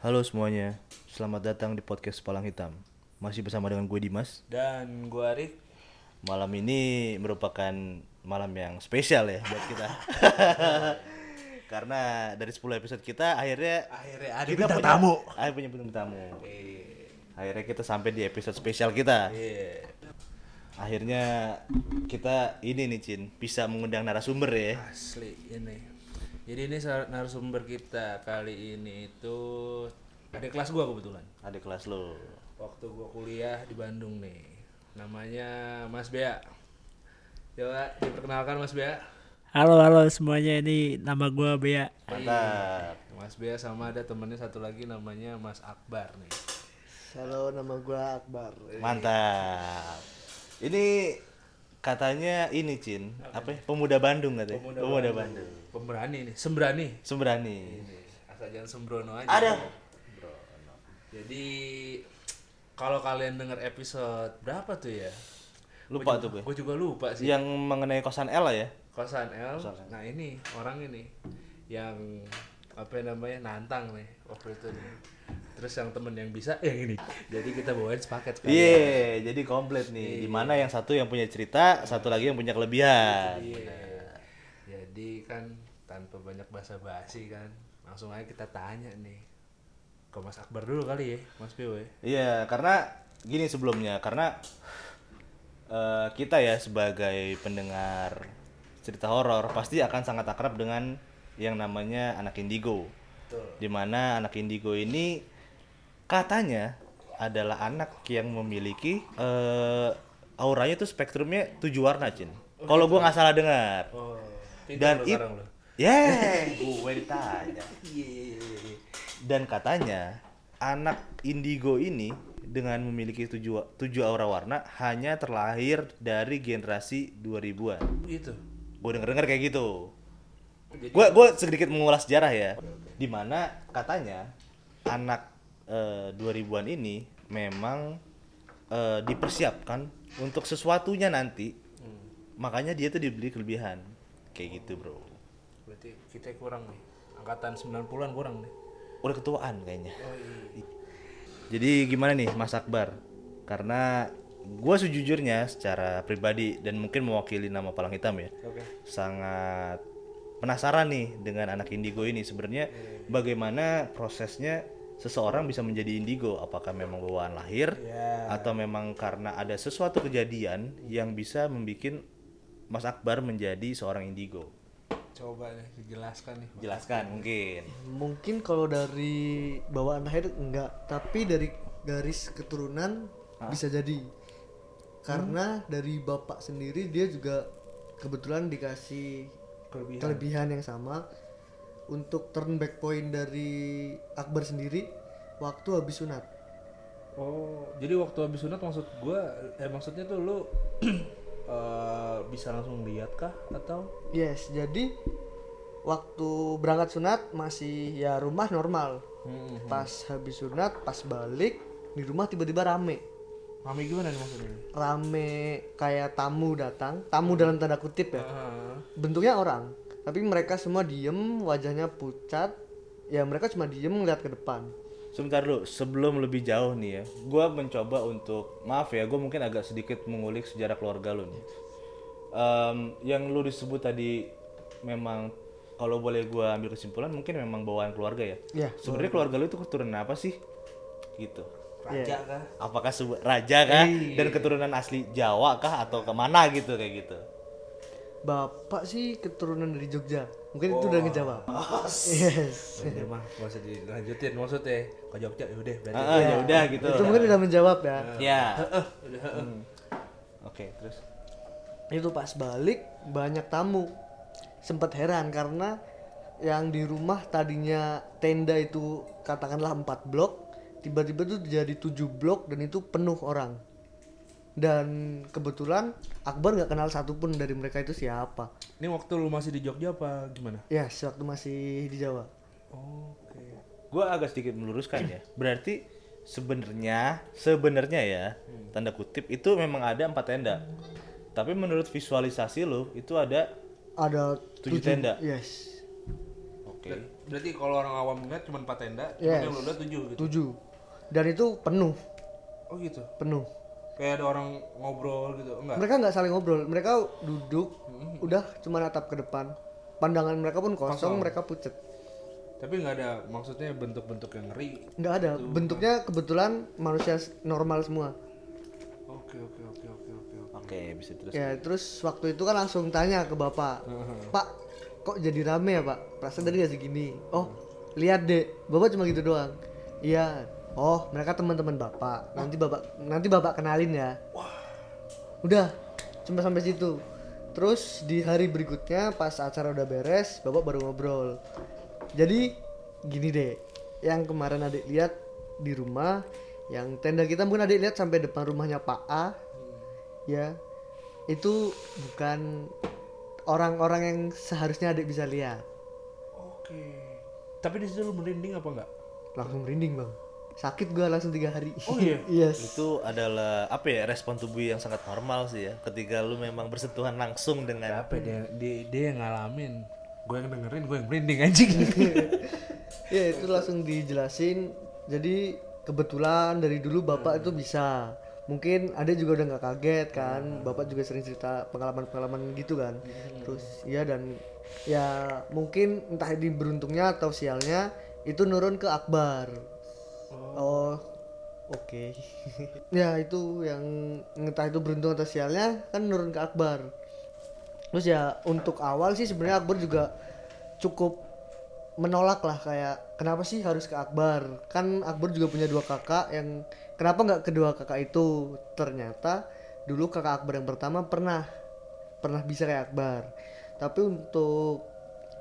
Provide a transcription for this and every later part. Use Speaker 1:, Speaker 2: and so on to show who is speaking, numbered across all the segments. Speaker 1: Halo semuanya, selamat datang di podcast Palang Hitam. Masih bersama dengan gue Dimas.
Speaker 2: Dan gue Arif
Speaker 1: Malam ini merupakan malam yang spesial ya buat kita. Karena dari 10 episode kita akhirnya
Speaker 2: Akhirnya ada
Speaker 1: kita
Speaker 2: bintang
Speaker 1: punya-
Speaker 2: tamu
Speaker 1: Ah, punya bintang tamu. Akhirnya kita sampai di episode spesial kita.
Speaker 2: Iya
Speaker 1: Akhirnya kita ini nih Cin, bisa mengundang narasumber ya.
Speaker 2: Asli ini Jadi ini sar- narasumber kita kali ini itu Ada kelas gue kebetulan
Speaker 1: Ada kelas lo.
Speaker 2: Waktu gue kuliah di Bandung nih Namanya Mas Bea Coba diperkenalkan Mas Bea
Speaker 3: Halo halo semuanya ini nama gua Bea.
Speaker 1: Mantap.
Speaker 2: Mas Bea sama ada temennya satu lagi namanya Mas Akbar nih
Speaker 4: Halo, nama gua Akbar.
Speaker 1: Eh. Mantap. Ini katanya ini Cin, apa ya? Pemuda Bandung katanya. Pemuda, Bandung.
Speaker 2: Pemberani nih, semberani
Speaker 1: Sembrani.
Speaker 2: Asal jangan sembrono aja
Speaker 1: Ada.
Speaker 2: Jadi kalau kalian denger episode berapa tuh ya?
Speaker 1: Lupa tuh gue. Iya.
Speaker 2: Gue juga lupa sih.
Speaker 1: Yang mengenai kosan L ya.
Speaker 2: Kosan L. Nah ini orang ini yang apa namanya nantang nih waktu itu nih. Terus yang temen yang bisa yang ini. Jadi kita bawain
Speaker 1: Iya,
Speaker 2: sepaket sekali.
Speaker 1: jadi komplit nih. Dimana yang satu yang punya cerita, satu lagi yang punya kelebihan.
Speaker 2: Iya. Jadi kan tanpa banyak basa-basi kan langsung aja kita tanya nih ke Mas Akbar dulu kali ya, Mas Bw.
Speaker 1: Iya, karena gini sebelumnya, karena eh, kita ya sebagai pendengar cerita horor pasti akan sangat akrab dengan yang namanya anak indigo. Dimana anak indigo ini katanya adalah anak yang memiliki eh, auranya tuh spektrumnya tujuh warna, Cin. Kalau gua nggak salah dengar.
Speaker 2: gitu. Oh,
Speaker 1: Dan
Speaker 2: pintar lu
Speaker 1: it,
Speaker 2: sekarang lu.
Speaker 1: yeah, gue ditanya.
Speaker 2: Iya,
Speaker 1: Dan katanya anak indigo ini dengan memiliki tujuh, tujuh aura warna hanya terlahir dari generasi 2000-an.
Speaker 2: Gitu.
Speaker 1: Gue denger-denger kayak gitu.
Speaker 2: Jadi-
Speaker 1: Gue gua sedikit mengulas sejarah ya. Dimana katanya anak eh, 2000-an ini memang eh, dipersiapkan untuk sesuatunya nanti. Makanya dia tuh dibeli kelebihan. Kayak gitu bro.
Speaker 2: Berarti kita kurang nih. Angkatan 90-an kurang nih.
Speaker 1: Udah ketuaan kayaknya.
Speaker 2: Oh, iya.
Speaker 1: Jadi gimana nih Mas Akbar? Karena gue sejujurnya secara pribadi dan mungkin mewakili nama Palang Hitam ya,
Speaker 2: Oke.
Speaker 1: sangat penasaran nih dengan anak indigo ini. Sebenarnya bagaimana prosesnya seseorang bisa menjadi indigo? Apakah memang bawaan lahir
Speaker 2: Ya.
Speaker 1: atau memang karena ada sesuatu kejadian yang bisa membuat Mas Akbar menjadi seorang indigo?
Speaker 2: Coba nih dijelaskan nih.
Speaker 1: Jelaskan mungkin.
Speaker 4: Mungkin kalau dari bawaan lahir enggak, tapi dari garis keturunan bisa jadi. Karena dari bapak sendiri dia juga kebetulan dikasih
Speaker 2: Kelebihan.
Speaker 4: kelebihan yang sama. Untuk turn back point dari Akbar sendiri waktu habis sunat.
Speaker 2: Oh, jadi waktu habis sunat maksud gua eh maksudnya tuh lu eh, bisa langsung lihat kah atau
Speaker 4: Yes, jadi waktu berangkat sunat masih ya rumah normal. Pas habis sunat, pas balik di rumah tiba-tiba rame.
Speaker 2: mami gimana nih maksudnya?
Speaker 4: Rame kayak tamu datang, tamu dalam tanda kutip ya. Bentuknya orang, tapi mereka semua diem, wajahnya pucat. Ya mereka cuma diem ngeliat ke depan.
Speaker 1: Sebentar dulu, sebelum lebih jauh nih ya, gue mencoba untuk maaf ya, gue mungkin agak sedikit mengulik sejarah keluarga lu nih. Em, yang lu disebut tadi memang kalau boleh gue ambil kesimpulan mungkin memang bawaan keluarga ya.
Speaker 4: Iya,
Speaker 1: Sebenarnya keluarga lu itu keturunan apa sih? Gitu.
Speaker 4: Ya,
Speaker 2: Raja Iya kah?
Speaker 1: Apakah sebu- raja kah
Speaker 4: Iya.
Speaker 1: dan keturunan asli Jawa kah atau kemana gitu kayak gitu?
Speaker 4: Bapak sih keturunan dari Jogja. Mungkin itu udah ngejawab. Yes.
Speaker 2: Ya mah gak usah dilanjutin maksudnya ke Jogja ya udah berarti.
Speaker 1: Ah, ah, ya udah gitu.
Speaker 4: Iya. Itu mungkin udah menjawab ya.
Speaker 1: Ya. Hmm. Oke, terus.
Speaker 4: itu pas balik banyak tamu sempat heran karena yang di rumah tadinya tenda itu katakanlah empat blok tiba-tiba tuh jadi tujuh blok dan itu penuh orang dan kebetulan Akbar nggak kenal satupun dari mereka itu siapa
Speaker 2: Ini waktu lu masih di Jogja apa gimana?
Speaker 4: ya sewaktu masih di Jawa
Speaker 2: Oke.
Speaker 1: gue agak sedikit meluruskan ya berarti sebenarnya sebenarnya ya tanda kutip itu memang ada empat tenda tapi menurut visualisasi lo itu ada
Speaker 4: ada
Speaker 1: Tujuh tenda?
Speaker 4: yes
Speaker 1: oke Oke.
Speaker 2: Berarti kalau orang awam ngeliat cuma 4 tenda, cuman
Speaker 4: Yes.
Speaker 2: yang lu lihat 7 gitu.
Speaker 4: tujuh dan itu penuh
Speaker 2: Oh gitu.
Speaker 4: penuh
Speaker 2: Kayak ada orang ngobrol gitu. Enggak.
Speaker 4: mereka nggak saling ngobrol mereka duduk udah cuma natap ke depan pandangan mereka pun kosong, mereka pucet
Speaker 2: Tapi nggak ada maksudnya bentuk-bentuk yang ngeri.
Speaker 4: nggak ada bentuknya kebetulan manusia s- normal semua
Speaker 2: Oke, oke, oke, oke, oke. oke.
Speaker 1: Oke, bisa terus.
Speaker 4: ya terus waktu itu kan langsung tanya ke bapak pak kok jadi rame ya pak perasaan tadi nggak segini oh lihat deh bapak cuma gitu doang iya oh mereka teman-teman bapak nanti bapak nanti bapak kenalin ya udah cuma sampai situ terus di hari berikutnya pas acara udah beres bapak baru ngobrol jadi gini deh yang kemarin adik lihat di rumah yang tenda kita mungkin adik lihat sampai depan rumahnya Pak A ya itu bukan orang-orang yang seharusnya adik bisa lihat
Speaker 2: Oke. Tapi di situ lu merinding apa enggak?
Speaker 4: langsung merinding bang sakit gua langsung tiga hari
Speaker 2: Oh iya?
Speaker 4: yes
Speaker 1: Itu adalah apa ya respon tubuh yang sangat normal sih ya. Ketika lu memang bersentuhan langsung dengan
Speaker 2: Ya, Apa dia, dia, dia yang ngalamin. Gue yang dengerin, gue yang merinding anjing.
Speaker 4: ya itu langsung dijelasin jadi kebetulan dari dulu bapak itu bisa mungkin ada juga udah nggak kaget kan bapak juga sering cerita pengalaman pengalaman gitu kan terus ya dan ya mungkin entah ini beruntungnya atau sialnya itu nurun ke Akbar oh oke ya itu yang entah itu beruntung atau sialnya kan nurun ke Akbar terus ya untuk awal sih sebenarnya Akbar juga cukup menolak lah kayak kenapa sih harus ke Akbar kan Akbar juga punya dua kakak yang kenapa nggak kedua kakak itu ternyata dulu kakak Akbar yang pertama pernah pernah bisa kayak Akbar tapi untuk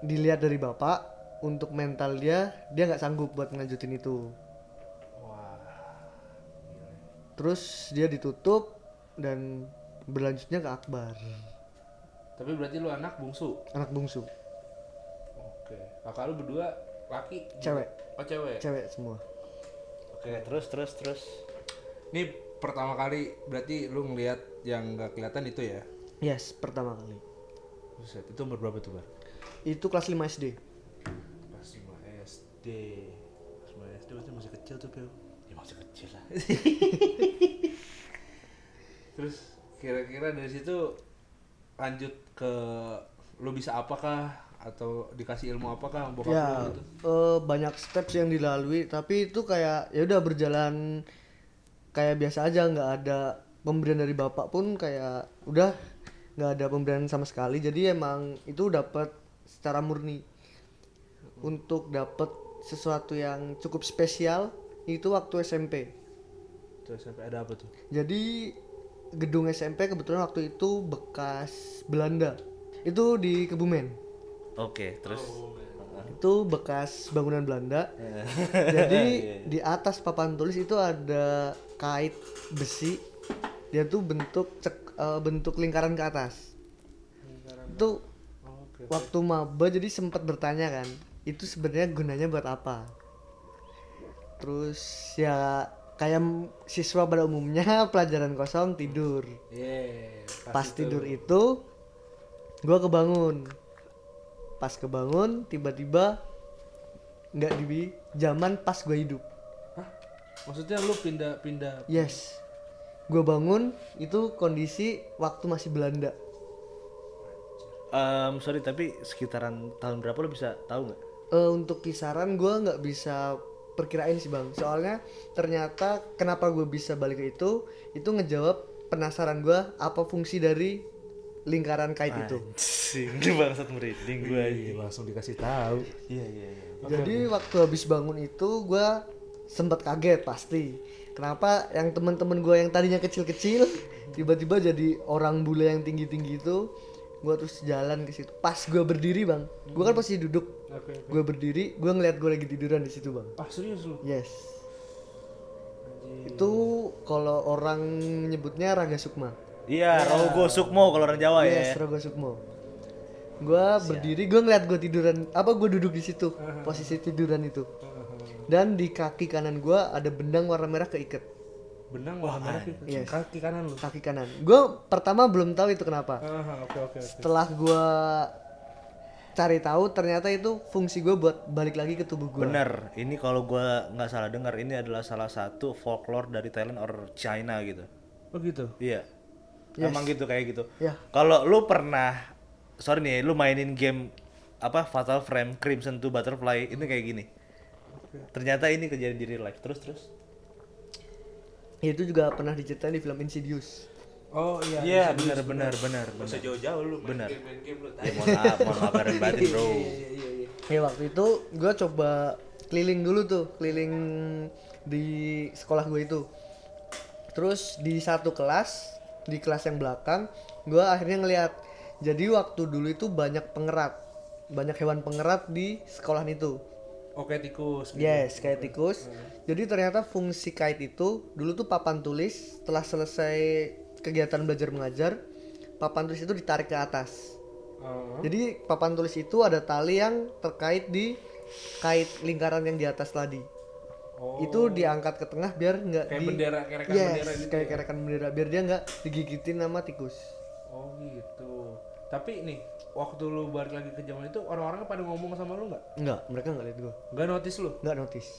Speaker 4: dilihat dari bapak untuk mental dia dia nggak sanggup buat ngelanjutin itu terus dia ditutup dan berlanjutnya ke Akbar
Speaker 2: Tapi berarti lu anak bungsu.
Speaker 4: anak bungsu
Speaker 2: Oke. Kakak lu berdua laki?
Speaker 4: Cewek.
Speaker 2: Oh, cewek.
Speaker 4: cewek semua
Speaker 1: Oke, terus terus terus.
Speaker 2: Ini pertama kali berarti lu ngelihat yang nggak kelihatan itu ya?
Speaker 4: yes pertama kali
Speaker 2: Buset, itu umur berapa tuh, Bar?
Speaker 4: itu kelas 5 SD
Speaker 2: Kelas 5 SD. Kelas 5 SD berarti masih kecil tuh, Pil. Ya masih kecil lah. Terus kira-kira dari situ lanjut ke lu bisa apakah atau dikasih ilmu apakah sama bokap
Speaker 4: ya
Speaker 2: lu gitu?
Speaker 4: eh, banyak steps yang dilalui tapi itu kayak ya udah berjalan kayak biasa aja nggak ada pemberian dari bapak pun kayak udah nggak ada pemberian sama sekali jadi emang itu dapat secara murni untuk dapat sesuatu yang cukup spesial itu waktu SMP
Speaker 2: Terus sampai ada apa tuh?
Speaker 4: jadi gedung SMP kebetulan waktu itu bekas Belanda itu di Kebumen
Speaker 1: Oke, terus.
Speaker 4: Nah, itu bekas bangunan Belanda. Jadi
Speaker 2: Iya.
Speaker 4: di atas papan tulis itu ada kait besi. Dia tuh bentuk cek eh, bentuk lingkaran ke atas. Itu
Speaker 2: Oh, Oke.
Speaker 4: waktu maba jadi sempat bertanya kan, itu sebenarnya gunanya buat apa? Terus ya kayak m- siswa pada umumnya pelajaran kosong tidur.
Speaker 2: Yeah,
Speaker 4: Pas tidur itu gua kebangun. Pas kebangun tiba-tiba nggak di zaman pas gua hidup.
Speaker 2: Hah? Maksudnya lu pindah-pindah
Speaker 4: Yes. Gua bangun itu kondisi waktu masih Belanda.
Speaker 1: Em, sorry tapi sekitaran tahun berapa lu bisa tahu nggak?
Speaker 4: Eh, untuk kisaran gua nggak bisa perkirain sih bang. Soalnya ternyata kenapa gue bisa balik ke itu itu ngejawab penasaran gua apa fungsi dari lingkaran kait itu.
Speaker 1: Sing bangsat merinding gue
Speaker 2: Iya, langsung dikasih tahu.
Speaker 1: Iya iya iya.
Speaker 4: Jadi waktu habis bangun itu gua sempat kaget pasti. Kenapa yang teman-teman gua yang tadinya kecil-kecil tiba-tiba jadi orang bule yang tinggi-tinggi itu gua terus jalan ke situ. Pas gua berdiri bang, gua kan pasti duduk.
Speaker 2: Hmm. Oke.
Speaker 4: Gua berdiri, gua ngeliat gua lagi tiduran di situ bang.
Speaker 2: Ah, serius lu?
Speaker 4: Yes. Itu kalau orang nyebutnya Raga Sukma.
Speaker 1: Iya, Rogo Sukmo kalau orang Jawa ya.
Speaker 4: Yes, Raga Sukmo. Gua berdiri, gua ngeliat gua tiduran, apa gua duduk di situ, posisi tiduran itu. Dan di kaki kanan gua ada benang warna merah keikat.
Speaker 2: Benang warna merah gitu.
Speaker 4: Yes.
Speaker 2: Kaki kanan lu.
Speaker 4: Kaki
Speaker 2: Oh, iya,
Speaker 4: kanan. Gua pertama belum tahu itu kenapa.
Speaker 2: Ah, oke oke oke.
Speaker 4: Setelah gua cari tahu ternyata itu fungsi gue buat balik lagi ke tubuh gue
Speaker 1: Bener, ini kalau gua nggak salah dengar ini adalah salah satu folklore dari Thailand or China gitu.
Speaker 3: Oh gitu.
Speaker 1: Iya. Emang gitu kayak gitu.
Speaker 4: Iya.
Speaker 1: Kalau lu pernah sorry nih, lu mainin game apa Fatal Frame Crimson to Butterfly itu kayak gini. Ternyata ini kejadian di real life. Terus terus.
Speaker 4: itu juga pernah diceritain di film Insidious
Speaker 2: Oh iya.
Speaker 1: Iya, benar benar benar benar.
Speaker 2: Jauh-jauh lu main
Speaker 1: Benar.
Speaker 2: game-main game lu
Speaker 1: Ya mohon maaf, mohon maaf lahir batin, Bro.
Speaker 4: ya waktu itu gue coba keliling dulu tuh keliling di sekolah gue itu terus di satu kelas di kelas yang belakang gue akhirnya ngeliat jadi waktu dulu itu banyak pengerat banyak hewan pengerat di sekolahan itu
Speaker 2: Oke tikus. gitu.
Speaker 4: Yes, kayak tikus. Jadi ternyata fungsi kait itu dulu tuh papan tulis setelah selesai kegiatan belajar mengajar, papan tulis itu ditarik ke atas.
Speaker 2: Oh.
Speaker 4: Jadi papan tulis itu ada tali yang terkait di kait lingkaran yang di atas tadi.
Speaker 2: Oh.
Speaker 4: Itu diangkat ke tengah biar nggak
Speaker 2: Kayak
Speaker 4: di-
Speaker 2: bendera, kayak rekan
Speaker 4: yes,
Speaker 2: bendera gitu
Speaker 4: kayak
Speaker 2: ya?
Speaker 4: kerekan bendera biar dia nggak digigitin sama tikus.
Speaker 2: Oh gitu. Tapi nih, waktu lu balik lagi ke zaman itu orang-orang pada ngomong sama lu nggak?
Speaker 4: Nggak, mereka nggak lihat gua.
Speaker 2: Nggak notice lu?
Speaker 4: Nggak notice.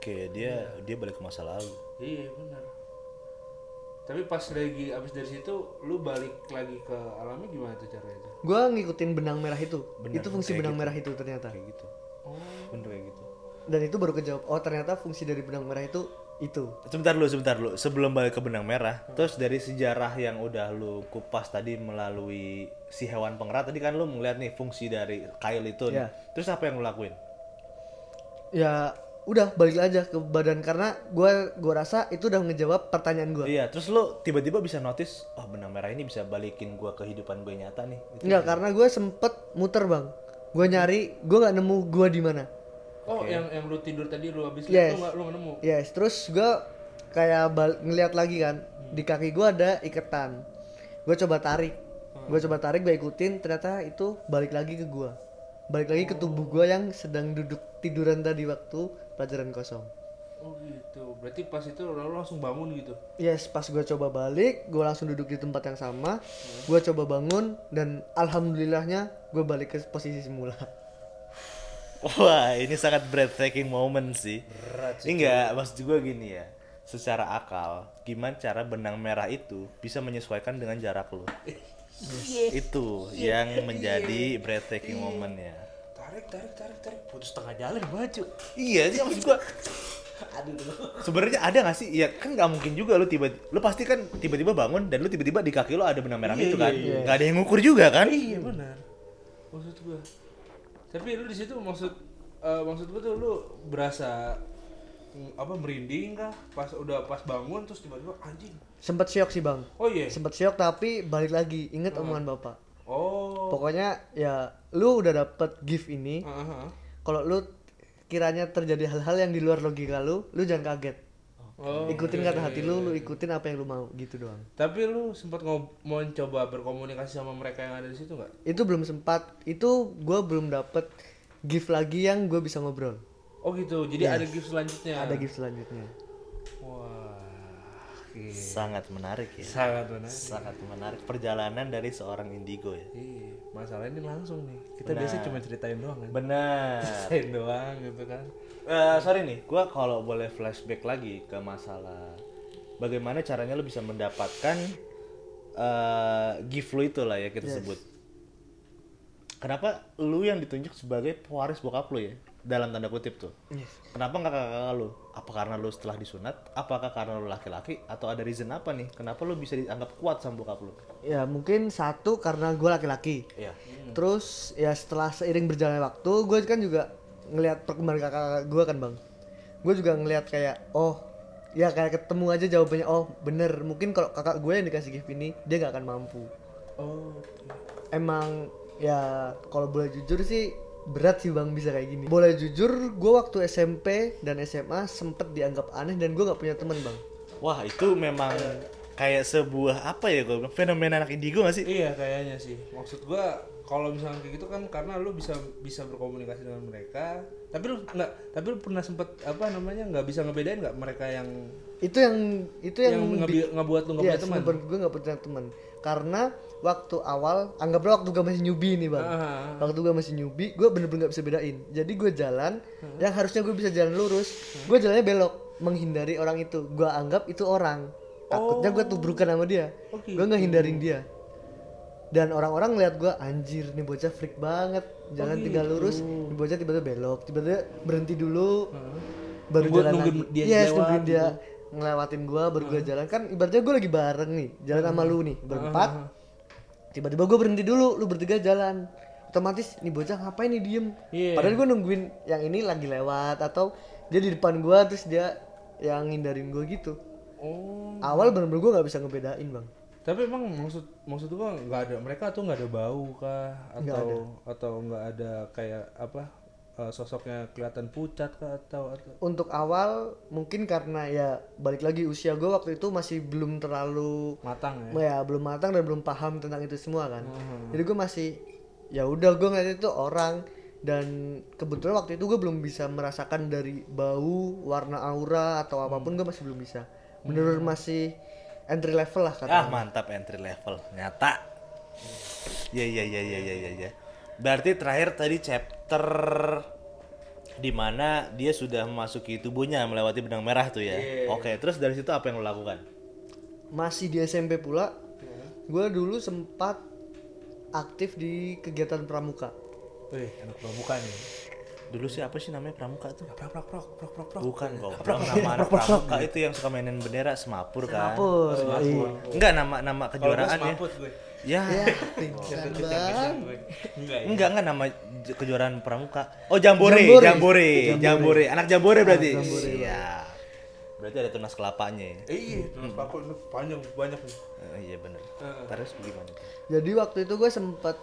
Speaker 1: Oke, dia dia balik ke masa lalu.
Speaker 2: Iya benar. Tapi pas lagi abis dari situ, lu balik lagi ke alamnya gimana tuh caranya? tuh?
Speaker 4: Gua ngikutin benang merah itu.
Speaker 1: Benar,
Speaker 4: itu fungsi
Speaker 1: kayak
Speaker 4: benang
Speaker 1: gitu.
Speaker 4: merah itu ternyata.
Speaker 1: Kayak gitu.
Speaker 2: Oh.
Speaker 1: Bener kayak gitu.
Speaker 4: Dan itu baru kejawab. Oh, ternyata fungsi dari benang merah itu itu.
Speaker 1: Sebentar lu, sebentar lu. Sebelum balik ke benang merah, terus dari sejarah yang udah lu kupas tadi melalui si hewan pengerat tadi kan lu melihat nih fungsi dari kail itu. nih.
Speaker 4: Iya.
Speaker 1: Terus apa yang lu lakuin?
Speaker 4: ya udah balik aja ke badan karena gua gua rasa itu udah ngejawab pertanyaan gua
Speaker 1: Iya, terus lu tiba-tiba bisa notice, oh benang merah ini bisa balikin gua kehidupan gue nyata nih. Gitu.
Speaker 4: Enggak, karena gue sempet muter bang Gue nyari, gue nggak nemu gua di mana
Speaker 2: Oh, yang yang lu tidur tadi lu abis
Speaker 4: Yes.
Speaker 2: itu nggak lu nggak nemu?
Speaker 4: Yes, terus gua kayak bal- ngeliat lagi kan Di kaki gua ada iketan Gue coba tarik
Speaker 2: Hmm.
Speaker 4: Gue coba tarik, gue ikutin Ternyata itu balik lagi ke gua Balik lagi ke tubuh gua yang sedang duduk tiduran tadi waktu pelajaran kosong
Speaker 2: Oh gitu. Berarti pas itu lu, lu langsung bangun gitu.
Speaker 4: Yes, pas gue coba balik, gue langsung duduk di tempat yang sama.
Speaker 2: Hmm.
Speaker 4: Gue coba bangun dan alhamdulillahnya gue balik ke posisi semula.
Speaker 1: Wah, ini sangat breathtaking moment sih. Enggak, maksud gua gini ya. Secara akal, gimana cara benang merah itu bisa menyesuaikan dengan jarak lu?
Speaker 4: Iya.
Speaker 1: Itu yang menjadi breathtaking moment ya.
Speaker 2: Tarik, tarik, tarik, tarik. Putus tengah jalan baju.
Speaker 1: Iya, sih maksud gua
Speaker 2: Aduh.
Speaker 1: sebenarnya ada nggak sih? Ya kan nggak mungkin juga lu tiba lu pasti kan tiba-tiba bangun dan lu tiba-tiba di kaki lu ada benang merah itu kan. Nggak ada yang ngukur juga kan?
Speaker 2: Iya benar. Maksud gua. Tapi lu di situ maksud eh, maksud gua tuh lu berasa mm, apa merinding kah pas udah pas bangun terus tiba-tiba anjing.
Speaker 4: Sempet syok sih bang,
Speaker 2: Oh iya. Hmm.
Speaker 4: sempet syok tapi balik lagi. Ingat omongan bapak.
Speaker 2: Oh. Hmm.
Speaker 4: Pokoknya ya lu udah dapet gift ini.
Speaker 2: Aha.
Speaker 4: Kalau lu kiranya terjadi hal-hal yang di luar logika lu, lu jangan kaget.
Speaker 2: Oh.
Speaker 4: Ikutin kata hati lu, lu ikutin apa yang lu mau gitu doang.
Speaker 2: Tapi lu sempat ngob- mau coba berkomunikasi sama mereka yang ada di situ nggak?
Speaker 4: Itu belum sempat, itu gue belum dapet gift lagi yang gue bisa ngobrol.
Speaker 2: Oh gitu. Jadi ada gift selanjutnya.
Speaker 4: Ada gift selanjutnya.
Speaker 2: Wah. oke.
Speaker 1: Sangat menarik ya.
Speaker 2: Sangat menarik.
Speaker 1: Sangat menarik perjalanan dari seorang indigo ya.
Speaker 2: Iya, masalah ini langsung nih. Kita biasa cuma ceritain doang kan.
Speaker 1: Benar.
Speaker 2: Ceritain doang gitu kan.
Speaker 1: Eh, sorry nih, gua kalau boleh flashback lagi ke masalah bagaimana caranya lo bisa mendapatkan eh gift lo itu lah ya kita sebut. Kenapa lu yang ditunjuk sebagai pewaris bokap lo ya dalam tanda kutip tuh? Kenapa nggak kakak lo? Apa karena lo setelah disunat? Apakah karena lo laki-laki? Atau ada reason apa nih? Kenapa lo bisa dianggap kuat sama bokap lo?
Speaker 4: Ya mungkin satu karena gue laki-laki.
Speaker 1: Iya.
Speaker 4: Terus ya setelah seiring berjalannya waktu, gue kan juga ngelihat perkembangan kakak gue kan bang. Gue juga ngelihat kayak oh ya kayak ketemu aja jawabannya oh bener mungkin kalau kakak gue yang dikasih gift ini dia nggak akan mampu.
Speaker 2: Oh.
Speaker 4: Emang ya kalau boleh jujur sih berat sih bang bisa kayak gini. Boleh jujur gue waktu SMP dan SMA sempet dianggap aneh dan gue nggak punya teman bang.
Speaker 1: Wah itu memang kayak sebuah apa ya gue fenomena anak indigo gak sih?
Speaker 2: Iya kayaknya sih. Maksud gua kalau misalnya kayak gitu kan karena lu bisa bisa berkomunikasi dengan mereka tapi lu nggak tapi lu pernah sempet apa namanya nggak bisa ngebedain nggak mereka yang
Speaker 4: itu yang itu yang,
Speaker 2: yang,
Speaker 4: bi-
Speaker 2: ngebi- ngebuat lu nggak
Speaker 4: Iya,
Speaker 2: punya teman
Speaker 4: sumber gue gak punya teman karena waktu awal anggaplah waktu gue masih newbie nih bang
Speaker 2: Ah.
Speaker 4: waktu gue masih newbie gue bener-bener gak bisa bedain jadi gue jalan
Speaker 2: Hmm.
Speaker 4: yang harusnya gue bisa jalan lurus gue jalannya belok menghindari orang itu gue anggap itu orang takutnya gue tubrukan sama dia
Speaker 2: Oh, gitu.
Speaker 4: gue ngehindarin dia dan orang-orang ngeliat gue anjir nih bocah freak banget jalan
Speaker 2: Oh,
Speaker 4: tinggal
Speaker 2: gitu.
Speaker 4: lurus nih bocah tiba-tiba belok tiba-tiba berhenti dulu baru
Speaker 2: Nunggu-
Speaker 4: jalan
Speaker 2: nungguin
Speaker 4: lagi.
Speaker 2: dia gitu.
Speaker 4: yes,
Speaker 2: lewat
Speaker 4: nungguin dia ngelewatin gua baru gua jalan kan ibaratnya gua lagi bareng nih jalan sama lu nih berempat tiba-tiba gua berhenti dulu lu bertiga jalan otomatis nih bocah ngapain nih diem
Speaker 2: Iya.
Speaker 4: padahal gua nungguin yang ini lagi lewat atau dia di depan gua terus dia yang ngindarin gua gitu
Speaker 2: oh
Speaker 4: awal bener-bener gua nggak bisa ngebedain bang
Speaker 2: tapi emang maksud maksud gua nggak ada mereka tuh nggak ada bau kah atau atau nggak ada kayak apa eh, sosoknya kelihatan pucat kah atau atau
Speaker 4: untuk awal mungkin karena ya balik lagi usia gua waktu itu masih belum terlalu
Speaker 2: matang ya
Speaker 4: ya belum matang dan belum paham tentang itu semua kan jadi gue masih ya udah gue ngeliat itu orang dan kebetulan waktu itu gue belum bisa merasakan dari bau warna aura atau apapun gue masih belum bisa menurut masih entry level lah kata
Speaker 1: Hmm. Ah mantap entry level nyata. Ya ya ya ya ya ya ya. Berarti terakhir tadi chapter dimana dia sudah memasuki tubuhnya melewati benang merah tuh ya.
Speaker 2: Iya.
Speaker 1: Oke, terus dari situ apa yang lo lakukan?
Speaker 4: masih di SMP pula
Speaker 1: Hmm.
Speaker 4: gue dulu sempat aktif di kegiatan pramuka
Speaker 1: Oh,
Speaker 2: Wih, anak pramuka nih
Speaker 1: Dulu sih apa sih namanya pramuka tuh?
Speaker 2: prok prok prok prok prok prok
Speaker 1: Bukan goblok nama anak pramuka itu yang suka mainin bendera semapur kan.
Speaker 4: Pur, iya.
Speaker 1: Enggak nama nama
Speaker 2: kalau gua
Speaker 1: kejuaraan ya.
Speaker 2: semaput gue Iya.
Speaker 1: Ya.
Speaker 4: ya pingsan
Speaker 2: Bisa
Speaker 4: bang
Speaker 2: gue. enggak ya
Speaker 1: Enggak enggak nama j- kejuaraan pramuka. Oh, jambore,
Speaker 4: Iya. Jambore.
Speaker 1: jambore, jambore. Anak jambore berarti.
Speaker 4: Anak jambore,
Speaker 1: Iya. Berarti ada tunas kelapanya ya.
Speaker 2: eh, iya terus paput lu panjang banyak nih
Speaker 1: Eh, iya bener. Terus gimana?
Speaker 4: jadi waktu itu gue sempat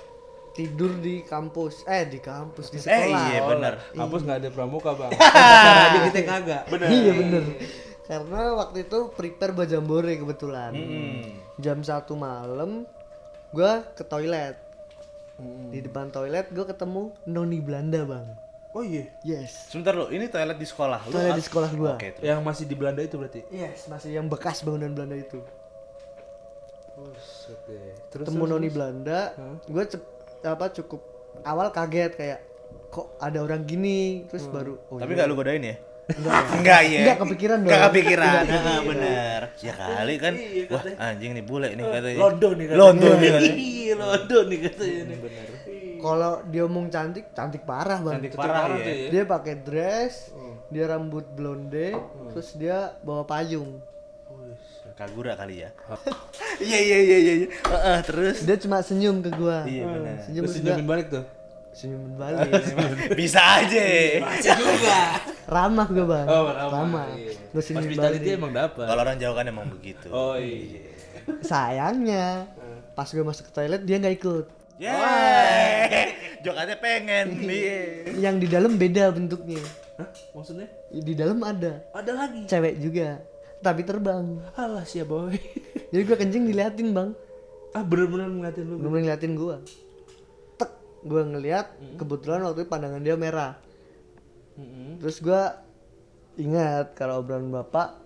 Speaker 4: tidur di kampus eh di kampus di
Speaker 1: Eh,
Speaker 4: sekolah
Speaker 1: iya bener.
Speaker 2: Hapus nggak ada pramuka bang Tadi kita kagak
Speaker 4: Iya bener. Karena waktu itu prepare buat jambore kebetulan. Jam satu malam gue ke toilet. Di depan toilet gue ketemu noni Belanda bang.
Speaker 2: oh iya
Speaker 4: Yes.
Speaker 1: Sebentar lo, ini toilet di sekolah lo.
Speaker 4: Toilet di sekolah gua.
Speaker 1: Oke, terus.
Speaker 2: yang masih di Belanda itu berarti
Speaker 4: Yes masih yang bekas bangunan Belanda itu.
Speaker 2: Buset deh. terus
Speaker 4: Ketemu noni Belanda. Gue apa cukup awal kaget kayak kok ada orang gini terus
Speaker 2: Hmm.
Speaker 4: baru oh
Speaker 1: Tapi
Speaker 4: iya.
Speaker 1: gak lu godain ya? Enggak ya.
Speaker 4: Enggak, kepikiran
Speaker 1: Enggak
Speaker 4: dong. Iya,
Speaker 1: kepikiran. Heeh, bener. Ya kali kan. Wah, anjing nih bule nih katanya.
Speaker 2: London nih katanya.
Speaker 1: London nih katanya.
Speaker 2: Iya, London nih katanya nih. Bener.
Speaker 4: kalau dia omong cantik cantik parah bang.
Speaker 1: Cantik parah
Speaker 2: parah
Speaker 1: ya.
Speaker 2: tuh ya.
Speaker 4: Dia pakai dress,
Speaker 2: Hmm.
Speaker 4: dia rambut blonde, terus dia bawa payung.
Speaker 1: Kagura kali ya. Iya iya iya iya. iya. Heeh, terus.
Speaker 4: Dia cuma senyum ke gua.
Speaker 1: Iya
Speaker 2: Hmm.
Speaker 1: bener.
Speaker 4: Senyum
Speaker 2: Lu
Speaker 4: terus
Speaker 2: senyumin balik tuh.
Speaker 4: gua senyum balik.
Speaker 1: Bisa aja.
Speaker 4: Iya,
Speaker 2: juga.
Speaker 4: ramah gua, Bang.
Speaker 2: Oh, lama.
Speaker 4: Gua senyum
Speaker 2: Hospitality
Speaker 4: balik.
Speaker 2: emang dapat.
Speaker 1: Kalau orang Jawa kan emang begitu.
Speaker 2: Oh iya.
Speaker 4: Sayangnya,
Speaker 2: Hmm.
Speaker 4: pas gua masuk ke toilet dia nggak ikut.
Speaker 1: Yeah. Jokannya pengen
Speaker 2: Iya.
Speaker 1: nih.
Speaker 4: Yang di dalam beda bentuknya.
Speaker 2: Hah? Maksudnya?
Speaker 4: Di dalam ada
Speaker 2: Ada lagi.
Speaker 4: cewek juga, tapi terbang.
Speaker 2: Alah ya boy.
Speaker 4: Jadi gua kencing diliatin, Bang.
Speaker 2: ah bener-bener ngeliatin lu.
Speaker 4: Belum ngeliatin gua. Tek, gua ngeliat kebetulan waktu itu pandangan dia merah.
Speaker 2: Mm-mm.
Speaker 4: Terus gua ingat kalau obrolan bapak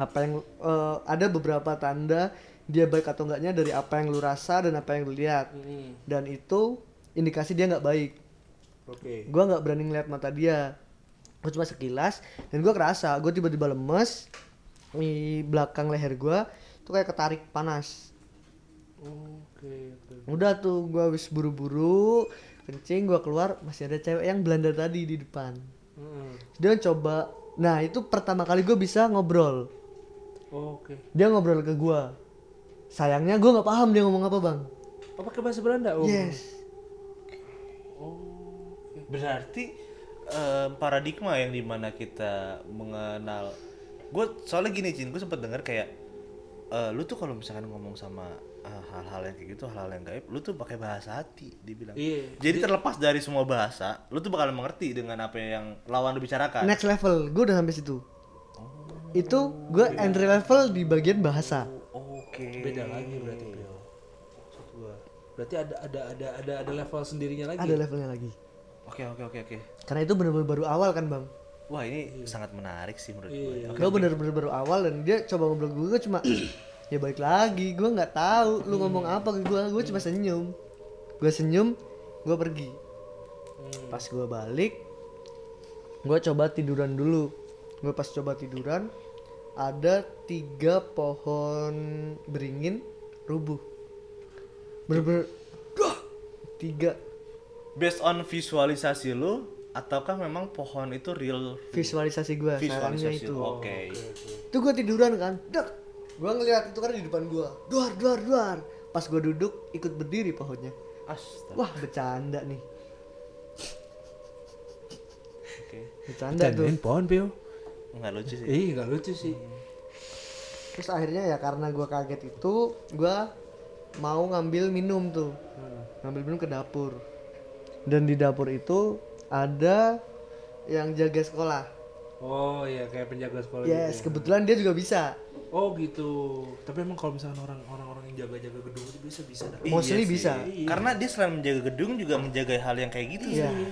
Speaker 4: apa yang eh, ada beberapa tanda dia baik atau enggaknya dari apa yang lu rasa dan apa yang lu lihat
Speaker 2: Mm-mm.
Speaker 4: dan itu indikasi dia nggak baik.
Speaker 2: Oke.
Speaker 4: Gua nggak berani ngeliat mata dia. Gue cuma sekilas dan gua kerasa gue tiba-tiba lemes di belakang leher gua tuh kayak ketarik panas.
Speaker 2: Oke, oke.
Speaker 4: Udah tuh gua habis buru-buru kencing gua keluar masih ada cewek yang Belanda tadi di depan.
Speaker 2: Mm-mm.
Speaker 4: Dia coba nah itu pertama kali gue bisa ngobrol.
Speaker 2: Oke.
Speaker 4: dia ngobrol ke gua sayangnya gua nggak paham dia ngomong apa bang
Speaker 2: Oh, pakai bahasa Belanda? Oh.
Speaker 4: yes
Speaker 1: Berarti em, paradigma yang dimana kita mengenal gue soalnya gini Cin, gue sempet denger kayak eh, lu tuh kalau misalkan ngomong sama eh, hal-hal yang kayak gitu hal-hal yang gaib lu tuh pakai bahasa hati dibilang
Speaker 2: Iya.
Speaker 1: jadi terlepas dari semua bahasa lu tuh bakal mengerti dengan apa yang lawan lu bicarakan
Speaker 4: next level gua udah sampai situ
Speaker 2: Oh.
Speaker 4: itu gua entry level di bagian bahasa
Speaker 1: oke
Speaker 2: Beda lagi berarti, Bro. Maksud gua. Berarti ada ada ada ada ada level sendirinya lagi.
Speaker 4: Ada levelnya lagi.
Speaker 1: Oke oke oke oke.
Speaker 4: Karena itu benar-benar baru awal kan bang.
Speaker 1: Wah
Speaker 2: Iya.
Speaker 1: ini sangat menarik sih menurut gue. Iya, Oke.
Speaker 4: Gue bener-bener baru awal dan dia coba ngobrol gue, gue cuma ya balik lagi gue nggak tahu
Speaker 1: Hmm.
Speaker 4: lu ngomong apa ke gue gue cuma senyum gue senyum gue pergi
Speaker 1: Hmm.
Speaker 4: pas gue balik gue coba tiduran dulu gue pas coba tiduran ada tiga pohon beringin rubuh bener-bener Duh, tiga
Speaker 1: Based on visualisasi lu ataukah memang pohon itu real
Speaker 4: visualisasi gue sarannya
Speaker 1: visualisasi?
Speaker 4: itu
Speaker 1: lu? Oke.
Speaker 4: itu gue tiduran kan dek gue ngeliat itu kan di depan gue duar duar duar pas gue duduk ikut berdiri pohonnya
Speaker 1: Astaga.
Speaker 4: wah bercanda nih
Speaker 1: Oke.
Speaker 4: bercanda tuh
Speaker 2: pohon, Pio.
Speaker 1: Nggak lucu sih.
Speaker 4: Iya
Speaker 2: Ih, enggak lucu sih.
Speaker 4: terus akhirnya ya karena gue kaget itu gue mau ngambil minum tuh ngambil minum ke dapur dan di dapur itu ada yang jaga sekolah
Speaker 2: Oh iya, kayak penjaga sekolah gitu.
Speaker 4: yes
Speaker 2: ya.
Speaker 4: kebetulan dia juga bisa
Speaker 2: Oh gitu. Tapi emang kalau misalnya orang orang-orang yang jaga-jaga gedung itu bisa bisa dah.
Speaker 1: Iya sih.
Speaker 4: mostly bisa
Speaker 1: Karena dia selain menjaga gedung juga menjaga hal yang kayak gitu
Speaker 4: iya
Speaker 1: sih.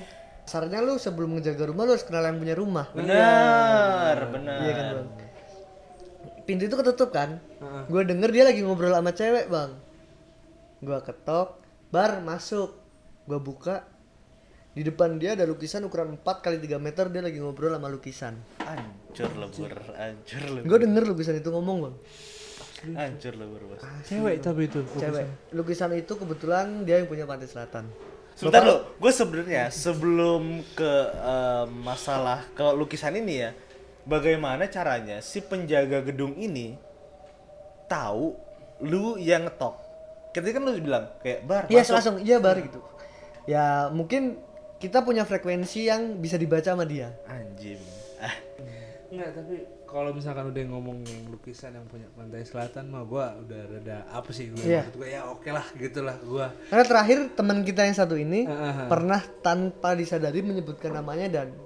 Speaker 4: sarannya lu sebelum ngejaga rumah lu harus kenal yang punya rumah
Speaker 1: Benar, benar.
Speaker 4: Iya kan bang. Pintu itu ketutup kan?
Speaker 2: Heeh.
Speaker 4: Gue denger dia lagi ngobrol sama cewek bang. Gue ketok, bar masuk, gue buka. Di depan dia ada lukisan ukuran 4 kali 3 meter dia lagi ngobrol sama lukisan.
Speaker 1: Ancur lebur, ancur lebur.
Speaker 4: Gue denger lukisan itu ngomong bang.
Speaker 1: Ancur lebur, Bos.
Speaker 2: Cewek tapi itu.
Speaker 4: Cewek. Lukisan itu kebetulan dia yang punya pantai selatan.
Speaker 1: Sebentar lo, gue sebenarnya sebelum ke eh, masalah ke lukisan ini ya, bagaimana caranya si penjaga gedung ini tahu lu yang ngetok? Ketika kan lu bilang kayak bar,
Speaker 4: Iya
Speaker 1: masuk."
Speaker 4: langsung, iya bar gitu. Ya mungkin kita punya frekuensi yang bisa dibaca sama dia.
Speaker 1: anjing. Ah,
Speaker 2: Enggak, tapi kalau misalkan udah ngomong yang lukisan yang punya pantai selatan mah gua udah rada apa sih gua
Speaker 4: Iya.
Speaker 2: maksud gua ya oke lah gitulah gua.
Speaker 4: Karena terakhir teman kita yang satu ini
Speaker 2: Ah, ah, ah.
Speaker 4: pernah tanpa disadari menyebutkan namanya dan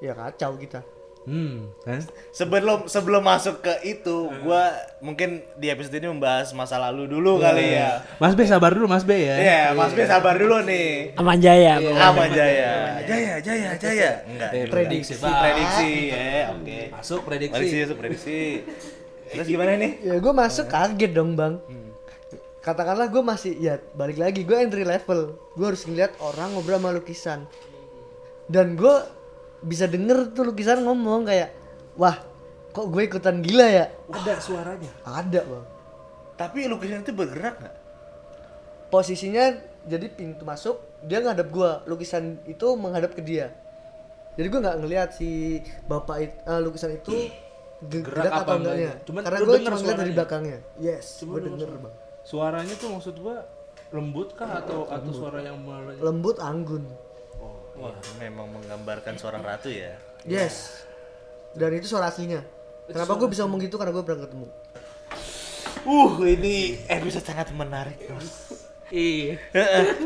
Speaker 4: ya kacau kita.
Speaker 2: Hmm, kan?
Speaker 1: sebelum sebelum masuk ke itu, gue mungkin di episode ini membahas masa lalu
Speaker 4: Iya.
Speaker 1: dulu kali ya.
Speaker 2: Mas B sabar dulu Mas B ya.
Speaker 1: Iya, Mas B sabar dulu nih.
Speaker 3: Aman Jaya. Bang.
Speaker 1: Sama Jaya. Jaya, Jaya, Jaya. Enggak.
Speaker 2: Eh,
Speaker 4: Iya. Prediksi,
Speaker 2: Pak.
Speaker 1: Prediksi, ya, oke.
Speaker 2: Masuk
Speaker 1: Prediksi,
Speaker 2: prediksi.
Speaker 1: itu prediksi. Terus gimana nih?
Speaker 4: Ya gue masuk
Speaker 2: Ah,
Speaker 4: kaget dong bang.
Speaker 2: Hmm.
Speaker 4: Katakanlah gue masih ya balik lagi gue entry level. Gue harus ngeliat orang ngobrol sama lukisan. Dan gue bisa denger tuh lukisan ngomong kayak wah kok gue ikutan gila ya.
Speaker 2: Ada suaranya.
Speaker 4: Ada bang.
Speaker 1: Tapi lukisan itu bergerak nggak?
Speaker 4: Posisinya jadi pintu masuk dia ngadep gue. Lukisan itu menghadap ke dia. Jadi gue nggak ngeliat si bapak it- eh, lukisan itu ge-
Speaker 2: Gerak
Speaker 4: gerak
Speaker 2: apa
Speaker 4: atau enggaknya.
Speaker 2: enggaknya. Cuman
Speaker 4: Karena
Speaker 2: lu
Speaker 4: gue
Speaker 2: denger
Speaker 4: cuma ngeliat dari
Speaker 2: suaranya.
Speaker 4: belakangnya. Yes,
Speaker 2: Cuman
Speaker 4: gue
Speaker 2: lu
Speaker 4: denger
Speaker 2: masuk-
Speaker 4: bang.
Speaker 2: Suaranya tuh maksud gua Iya, lembut kah atau atau suara yang mele-
Speaker 4: Lembut anggun.
Speaker 1: Oh, Wah, memang menggambarkan seorang ratu ya.
Speaker 2: Iya.
Speaker 4: Yes. Dan itu suara aslinya. Kenapa gue bisa ngomong gitu karena gue pernah ketemu.
Speaker 1: Uh, ini episode sangat menarik, Bos.
Speaker 2: Iya.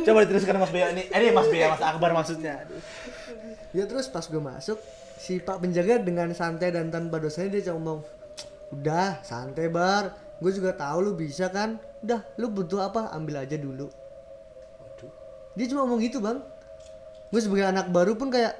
Speaker 1: Coba diteruskan Mas Bea ini. Ini Mas Bea, Mas Akbar maksudnya.
Speaker 4: Ya terus pas gue masuk, si Pak penjaga dengan santai dan tanpa dosanya dia cuma ngomong, udah santai bar, gue juga tahu lu bisa kan, udah lu butuh apa ambil aja dulu. Dia cuma ngomong gitu bang. Gue sebagai anak baru pun kayak,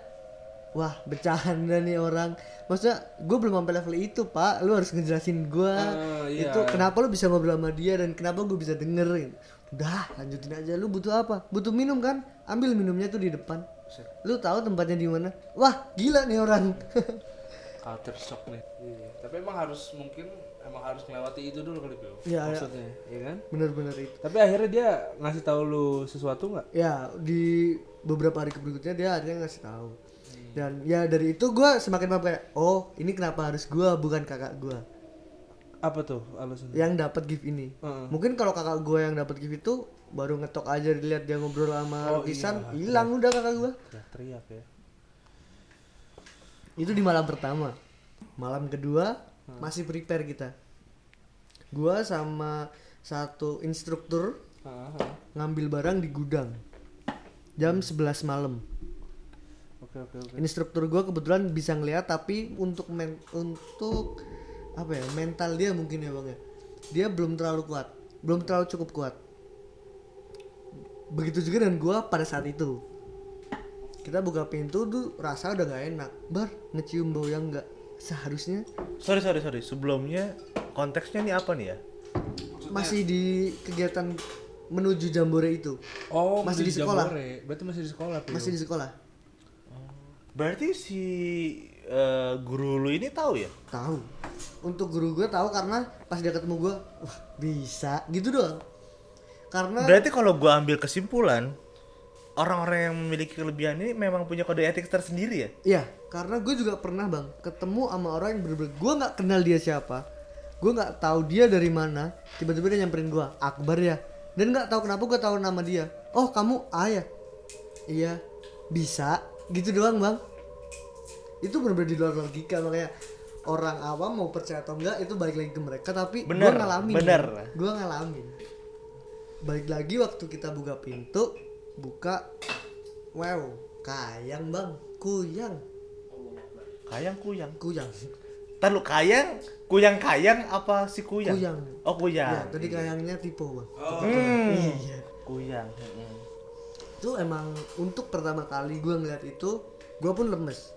Speaker 4: wah bercanda nih orang. Maksudnya gue belum sampai level itu pak, lu harus ngejelasin gue
Speaker 2: Ah, iya.
Speaker 4: itu kenapa lu bisa ngobrol sama dia dan kenapa gue bisa dengerin. Udah lanjutin aja, lu butuh apa? Butuh minum kan? Ambil minumnya tuh di depan. Lu tahu tempatnya di mana? Wah, gila nih orang.
Speaker 2: Culture shock nih. Iya. Tapi emang harus mungkin emang harus melewati itu dulu kali, Bro.
Speaker 4: Iya, iya.
Speaker 2: Maksudnya, iya kan?
Speaker 4: Bener-bener itu.
Speaker 2: Tapi akhirnya dia ngasih tahu lu sesuatu nggak?
Speaker 4: Ya, di beberapa hari berikutnya dia akhirnya ngasih tahu. Dan ya dari itu gua semakin paham kayak, oh ini kenapa harus gua bukan kakak gua
Speaker 2: Apa tuh alasannya?
Speaker 4: yang dapat gift ini.
Speaker 2: Heeh.
Speaker 4: Mungkin kalau kakak gua yang dapat gift itu baru ngetok aja dilihat dia ngobrol sama lukisan, hilang udah kakak gua
Speaker 2: Teriak-teriak ya.
Speaker 4: Itu di malam pertama. Malam kedua masih prepare kita. Gua sama satu instruktur
Speaker 2: Ah, ah.
Speaker 4: ngambil barang di gudang jam 11 malam.
Speaker 2: Oke, oke, oke.
Speaker 4: Instruktur gue kebetulan bisa ngeliat tapi untuk men untuk apa ya mental dia mungkin ya bang ya dia belum terlalu kuat, belum terlalu cukup kuat. begitu juga dengan gua pada saat itu kita buka pintu tuh rasa udah gak enak bar ngecium bau yang nggak seharusnya
Speaker 1: Sorry sorry sorry. Sebelumnya konteksnya nih apa nih ya?
Speaker 4: masih di kegiatan menuju jambore itu
Speaker 2: Oh,
Speaker 4: Masih di
Speaker 2: beli
Speaker 4: sekolah.
Speaker 2: jambore. Berarti masih di sekolah, ya? Pio.
Speaker 4: masih di sekolah
Speaker 1: Berarti si eh, guru lu ini tahu ya?
Speaker 4: tahu untuk guru gue tahu karena pas dia ketemu gue wah bisa gitu doang karena
Speaker 1: Berarti kalau gua ambil kesimpulan orang-orang yang memiliki kelebihan ini memang punya kode etik tersendiri ya?
Speaker 4: Iya, karena gue juga pernah bang ketemu sama orang yang bener-bener gue nggak kenal dia siapa, gue nggak tahu dia dari mana, tiba-tiba dia nyamperin gue, Akbar ya, dan nggak tahu kenapa gue tahu nama dia. Oh kamu A ya? Iya, bisa, gitu doang bang. Itu bener-bener di luar logika makanya orang awam mau percaya atau enggak itu balik lagi ke mereka tapi gue
Speaker 1: Bener,
Speaker 4: ngalamin.
Speaker 1: bener.
Speaker 4: Gue ngalamin. Balik lagi waktu kita buka pintu, buka, wow, kayang bang, kuyang
Speaker 1: Kayang kuyang.
Speaker 4: kuyang
Speaker 1: Ntar lu kayang, kuyang kayang apa si kuyang?
Speaker 4: Kuyang.
Speaker 1: Oh kuyang.
Speaker 4: ya, tadi kayangnya tipe bang
Speaker 1: Hmm.
Speaker 4: iya
Speaker 1: Kuyang. mm-mm.
Speaker 4: itu emang untuk pertama kali gue ngeliat itu gue pun lemes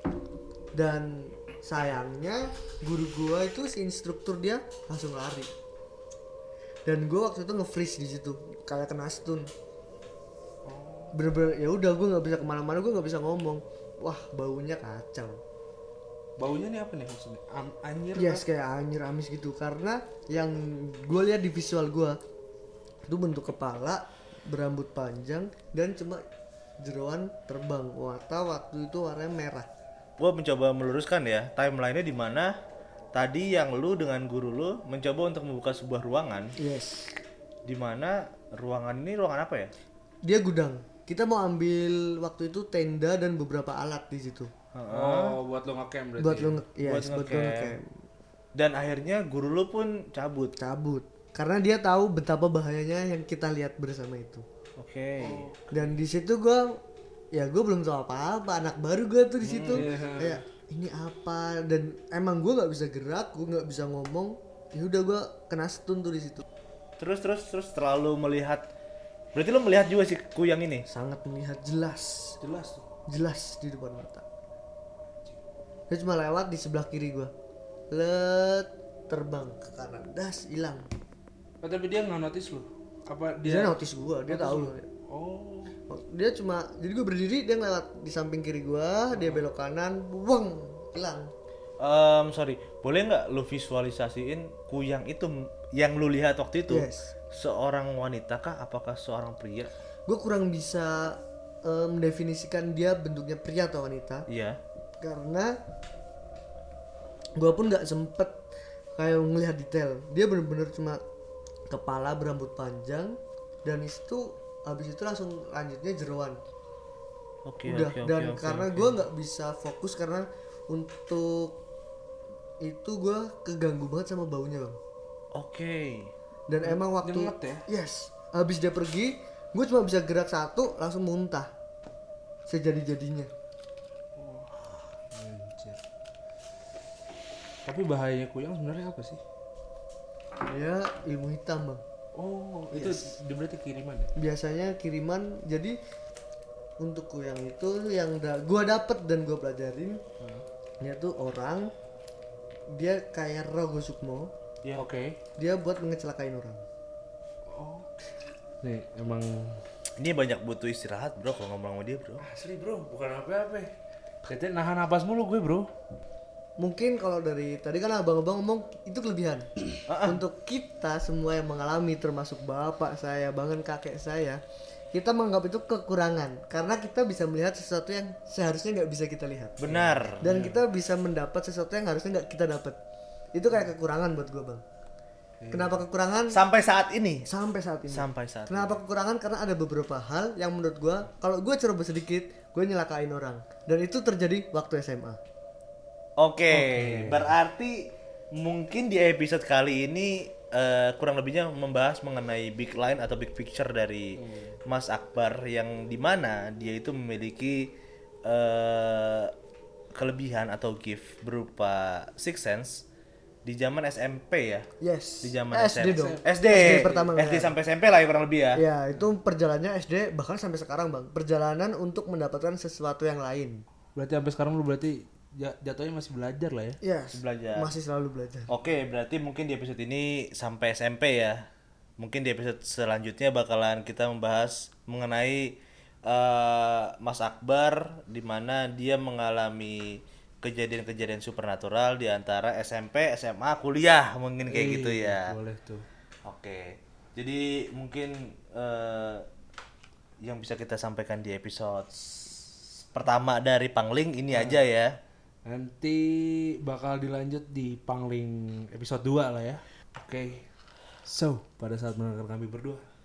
Speaker 4: dan sayangnya guru gue itu si instruktur dia langsung lari dan gue waktu itu nge-freeze di situ kayak kena stun bener-bener ya udah gue nggak bisa kemana-mana gue nggak bisa ngomong wah baunya kacau
Speaker 2: Baunya nih apa nih maksudnya? Am anjir.
Speaker 4: Yes kayak anjir amis gitu karena yang gue lihat di visual gue itu bentuk kepala berambut panjang dan cuma jeroan terbang warna waktu itu warnanya merah
Speaker 1: Gua mencoba meluruskan ya timelinenya di mana tadi yang lu dengan guru lu mencoba untuk membuka sebuah ruangan
Speaker 4: yes
Speaker 1: di mana ruangan ini ruangan apa ya?
Speaker 4: dia gudang kita mau ambil waktu itu tenda dan beberapa alat di situ
Speaker 2: Oh, buat lo ngecam berarti. ya?
Speaker 4: buat lo nge- yes,
Speaker 1: Buat
Speaker 4: buat lo
Speaker 1: ngecamp.
Speaker 4: ngecamp.
Speaker 1: Dan akhirnya guru lu pun cabut.
Speaker 4: cabut karena dia tahu betapa bahayanya yang kita lihat bersama itu
Speaker 1: Oke.
Speaker 4: dan di situ gua ya gue belum tahu apa-apa anak baru gue tuh di situ kayak ini apa dan emang gua nggak bisa gerak gue nggak bisa ngomong ya udah gue kena stun tuh di situ
Speaker 1: Terus terus terus terlalu melihat. Berarti lu melihat juga si kuyang ini.
Speaker 4: sangat melihat jelas
Speaker 2: Jelas tuh.
Speaker 4: jelas di depan mata dia cuma lewat di sebelah kiri gua let terbang ke kanan das hilang
Speaker 2: Oh, tapi dia nggak notice lo. Apa dia?
Speaker 4: dia Iya. notice gua dia tahu
Speaker 2: Oh.
Speaker 4: dia cuma jadi gue berdiri dia ngelewat di samping kiri gua dia belok kanan buang hilang
Speaker 1: Em sorry, boleh nggak lu visualisasiin kuyang itu m- yang lu lihat waktu itu?
Speaker 4: Yes.
Speaker 1: Seorang wanita kah? Apakah seorang pria?
Speaker 4: gue kurang bisa eh, mendefinisikan dia bentuknya pria atau wanita
Speaker 1: Iya.
Speaker 4: karena gue pun nggak sempet kayak melihat detail dia bener-bener cuma kepala berambut panjang dan itu habis itu langsung lanjutnya jeroan
Speaker 1: Oke,
Speaker 4: udah
Speaker 1: oke, oke,
Speaker 4: dan
Speaker 1: oke,
Speaker 4: karena
Speaker 1: oke.
Speaker 4: gue nggak bisa fokus karena untuk itu gue keganggu banget sama baunya bang
Speaker 1: Oke.
Speaker 4: dan emang waktu
Speaker 2: nyengat ya?
Speaker 4: yes habis dia pergi gue cuma bisa gerak satu langsung muntah sejadi jadinya
Speaker 2: Anjir. Tapi bahayanya kuyang sebenarnya apa sih?
Speaker 4: ya ilmu hitam bang
Speaker 2: Oh, itu dia berarti kiriman ya?
Speaker 4: biasanya kiriman jadi untuk yang itu yang da gue dapet dan gue pelajarin dia tuh orang dia kayak Rogo Sukmo
Speaker 2: Iya. Oke.
Speaker 4: dia buat mengecelakain orang
Speaker 2: Oh. Nih, emang
Speaker 1: Ini banyak butuh istirahat, Bro, kalau ngomong sama dia, Bro.
Speaker 2: asli, Bro, bukan apa-apa. Kita nahan napas mulu gue, Bro.
Speaker 4: mungkin kalau dari tadi kan abang-abang ngomong itu kelebihan Ah, untuk kita semua yang mengalami termasuk bapak saya bahkan kakek saya kita menganggap itu kekurangan karena kita bisa melihat sesuatu yang seharusnya nggak bisa kita lihat
Speaker 1: Benar.
Speaker 4: dan kita bisa mendapat sesuatu yang harusnya nggak kita dapat itu kayak kekurangan buat gue bang kenapa kekurangan
Speaker 1: Sampai saat ini.
Speaker 4: sampai saat ini
Speaker 1: Iya. Sampai saat ini.
Speaker 4: kenapa kekurangan karena ada beberapa hal yang menurut gue kalau gue coba sedikit gue nyelakain orang dan itu terjadi waktu SMA
Speaker 1: Oke, berarti mungkin di episode kali ini eh, kurang lebihnya membahas mengenai big line atau big picture dari
Speaker 4: Hmm.
Speaker 1: Mas Akbar yang dimana dia itu memiliki eh, kelebihan atau gift berupa six sense di zaman SMP ya
Speaker 4: Yes.
Speaker 1: di zaman
Speaker 4: SD
Speaker 1: SMP.
Speaker 4: dong.
Speaker 1: SD
Speaker 4: pertama
Speaker 1: SD
Speaker 4: ngeliat.
Speaker 1: sampai SMP lah ya kurang lebih ya
Speaker 4: Ya, itu perjalanannya SD bahkan sampai sekarang, Bang. Perjalanan untuk mendapatkan sesuatu yang lain.
Speaker 2: Berarti sampai sekarang lu berarti ja- jatuhnya masih belajar lah ya.
Speaker 4: Yes.
Speaker 1: belajar
Speaker 4: Masih selalu belajar.
Speaker 1: Oke, berarti mungkin di episode ini sampai SMP ya. Mungkin di episode selanjutnya bakalan kita membahas mengenai eh, Mas Akbar di mana dia mengalami kejadian-kejadian supernatural di antara SMP, SMA, kuliah mungkin kayak gitu ya.
Speaker 2: Iya, Boleh tuh.
Speaker 1: Oke. Jadi mungkin eh, yang bisa kita sampaikan di episode s- pertama dari Pangling ini aja ya.
Speaker 2: Nanti bakal dilanjut di Pangling episode 2 lah ya. Oke. So, pada saat mendengar kami berdua,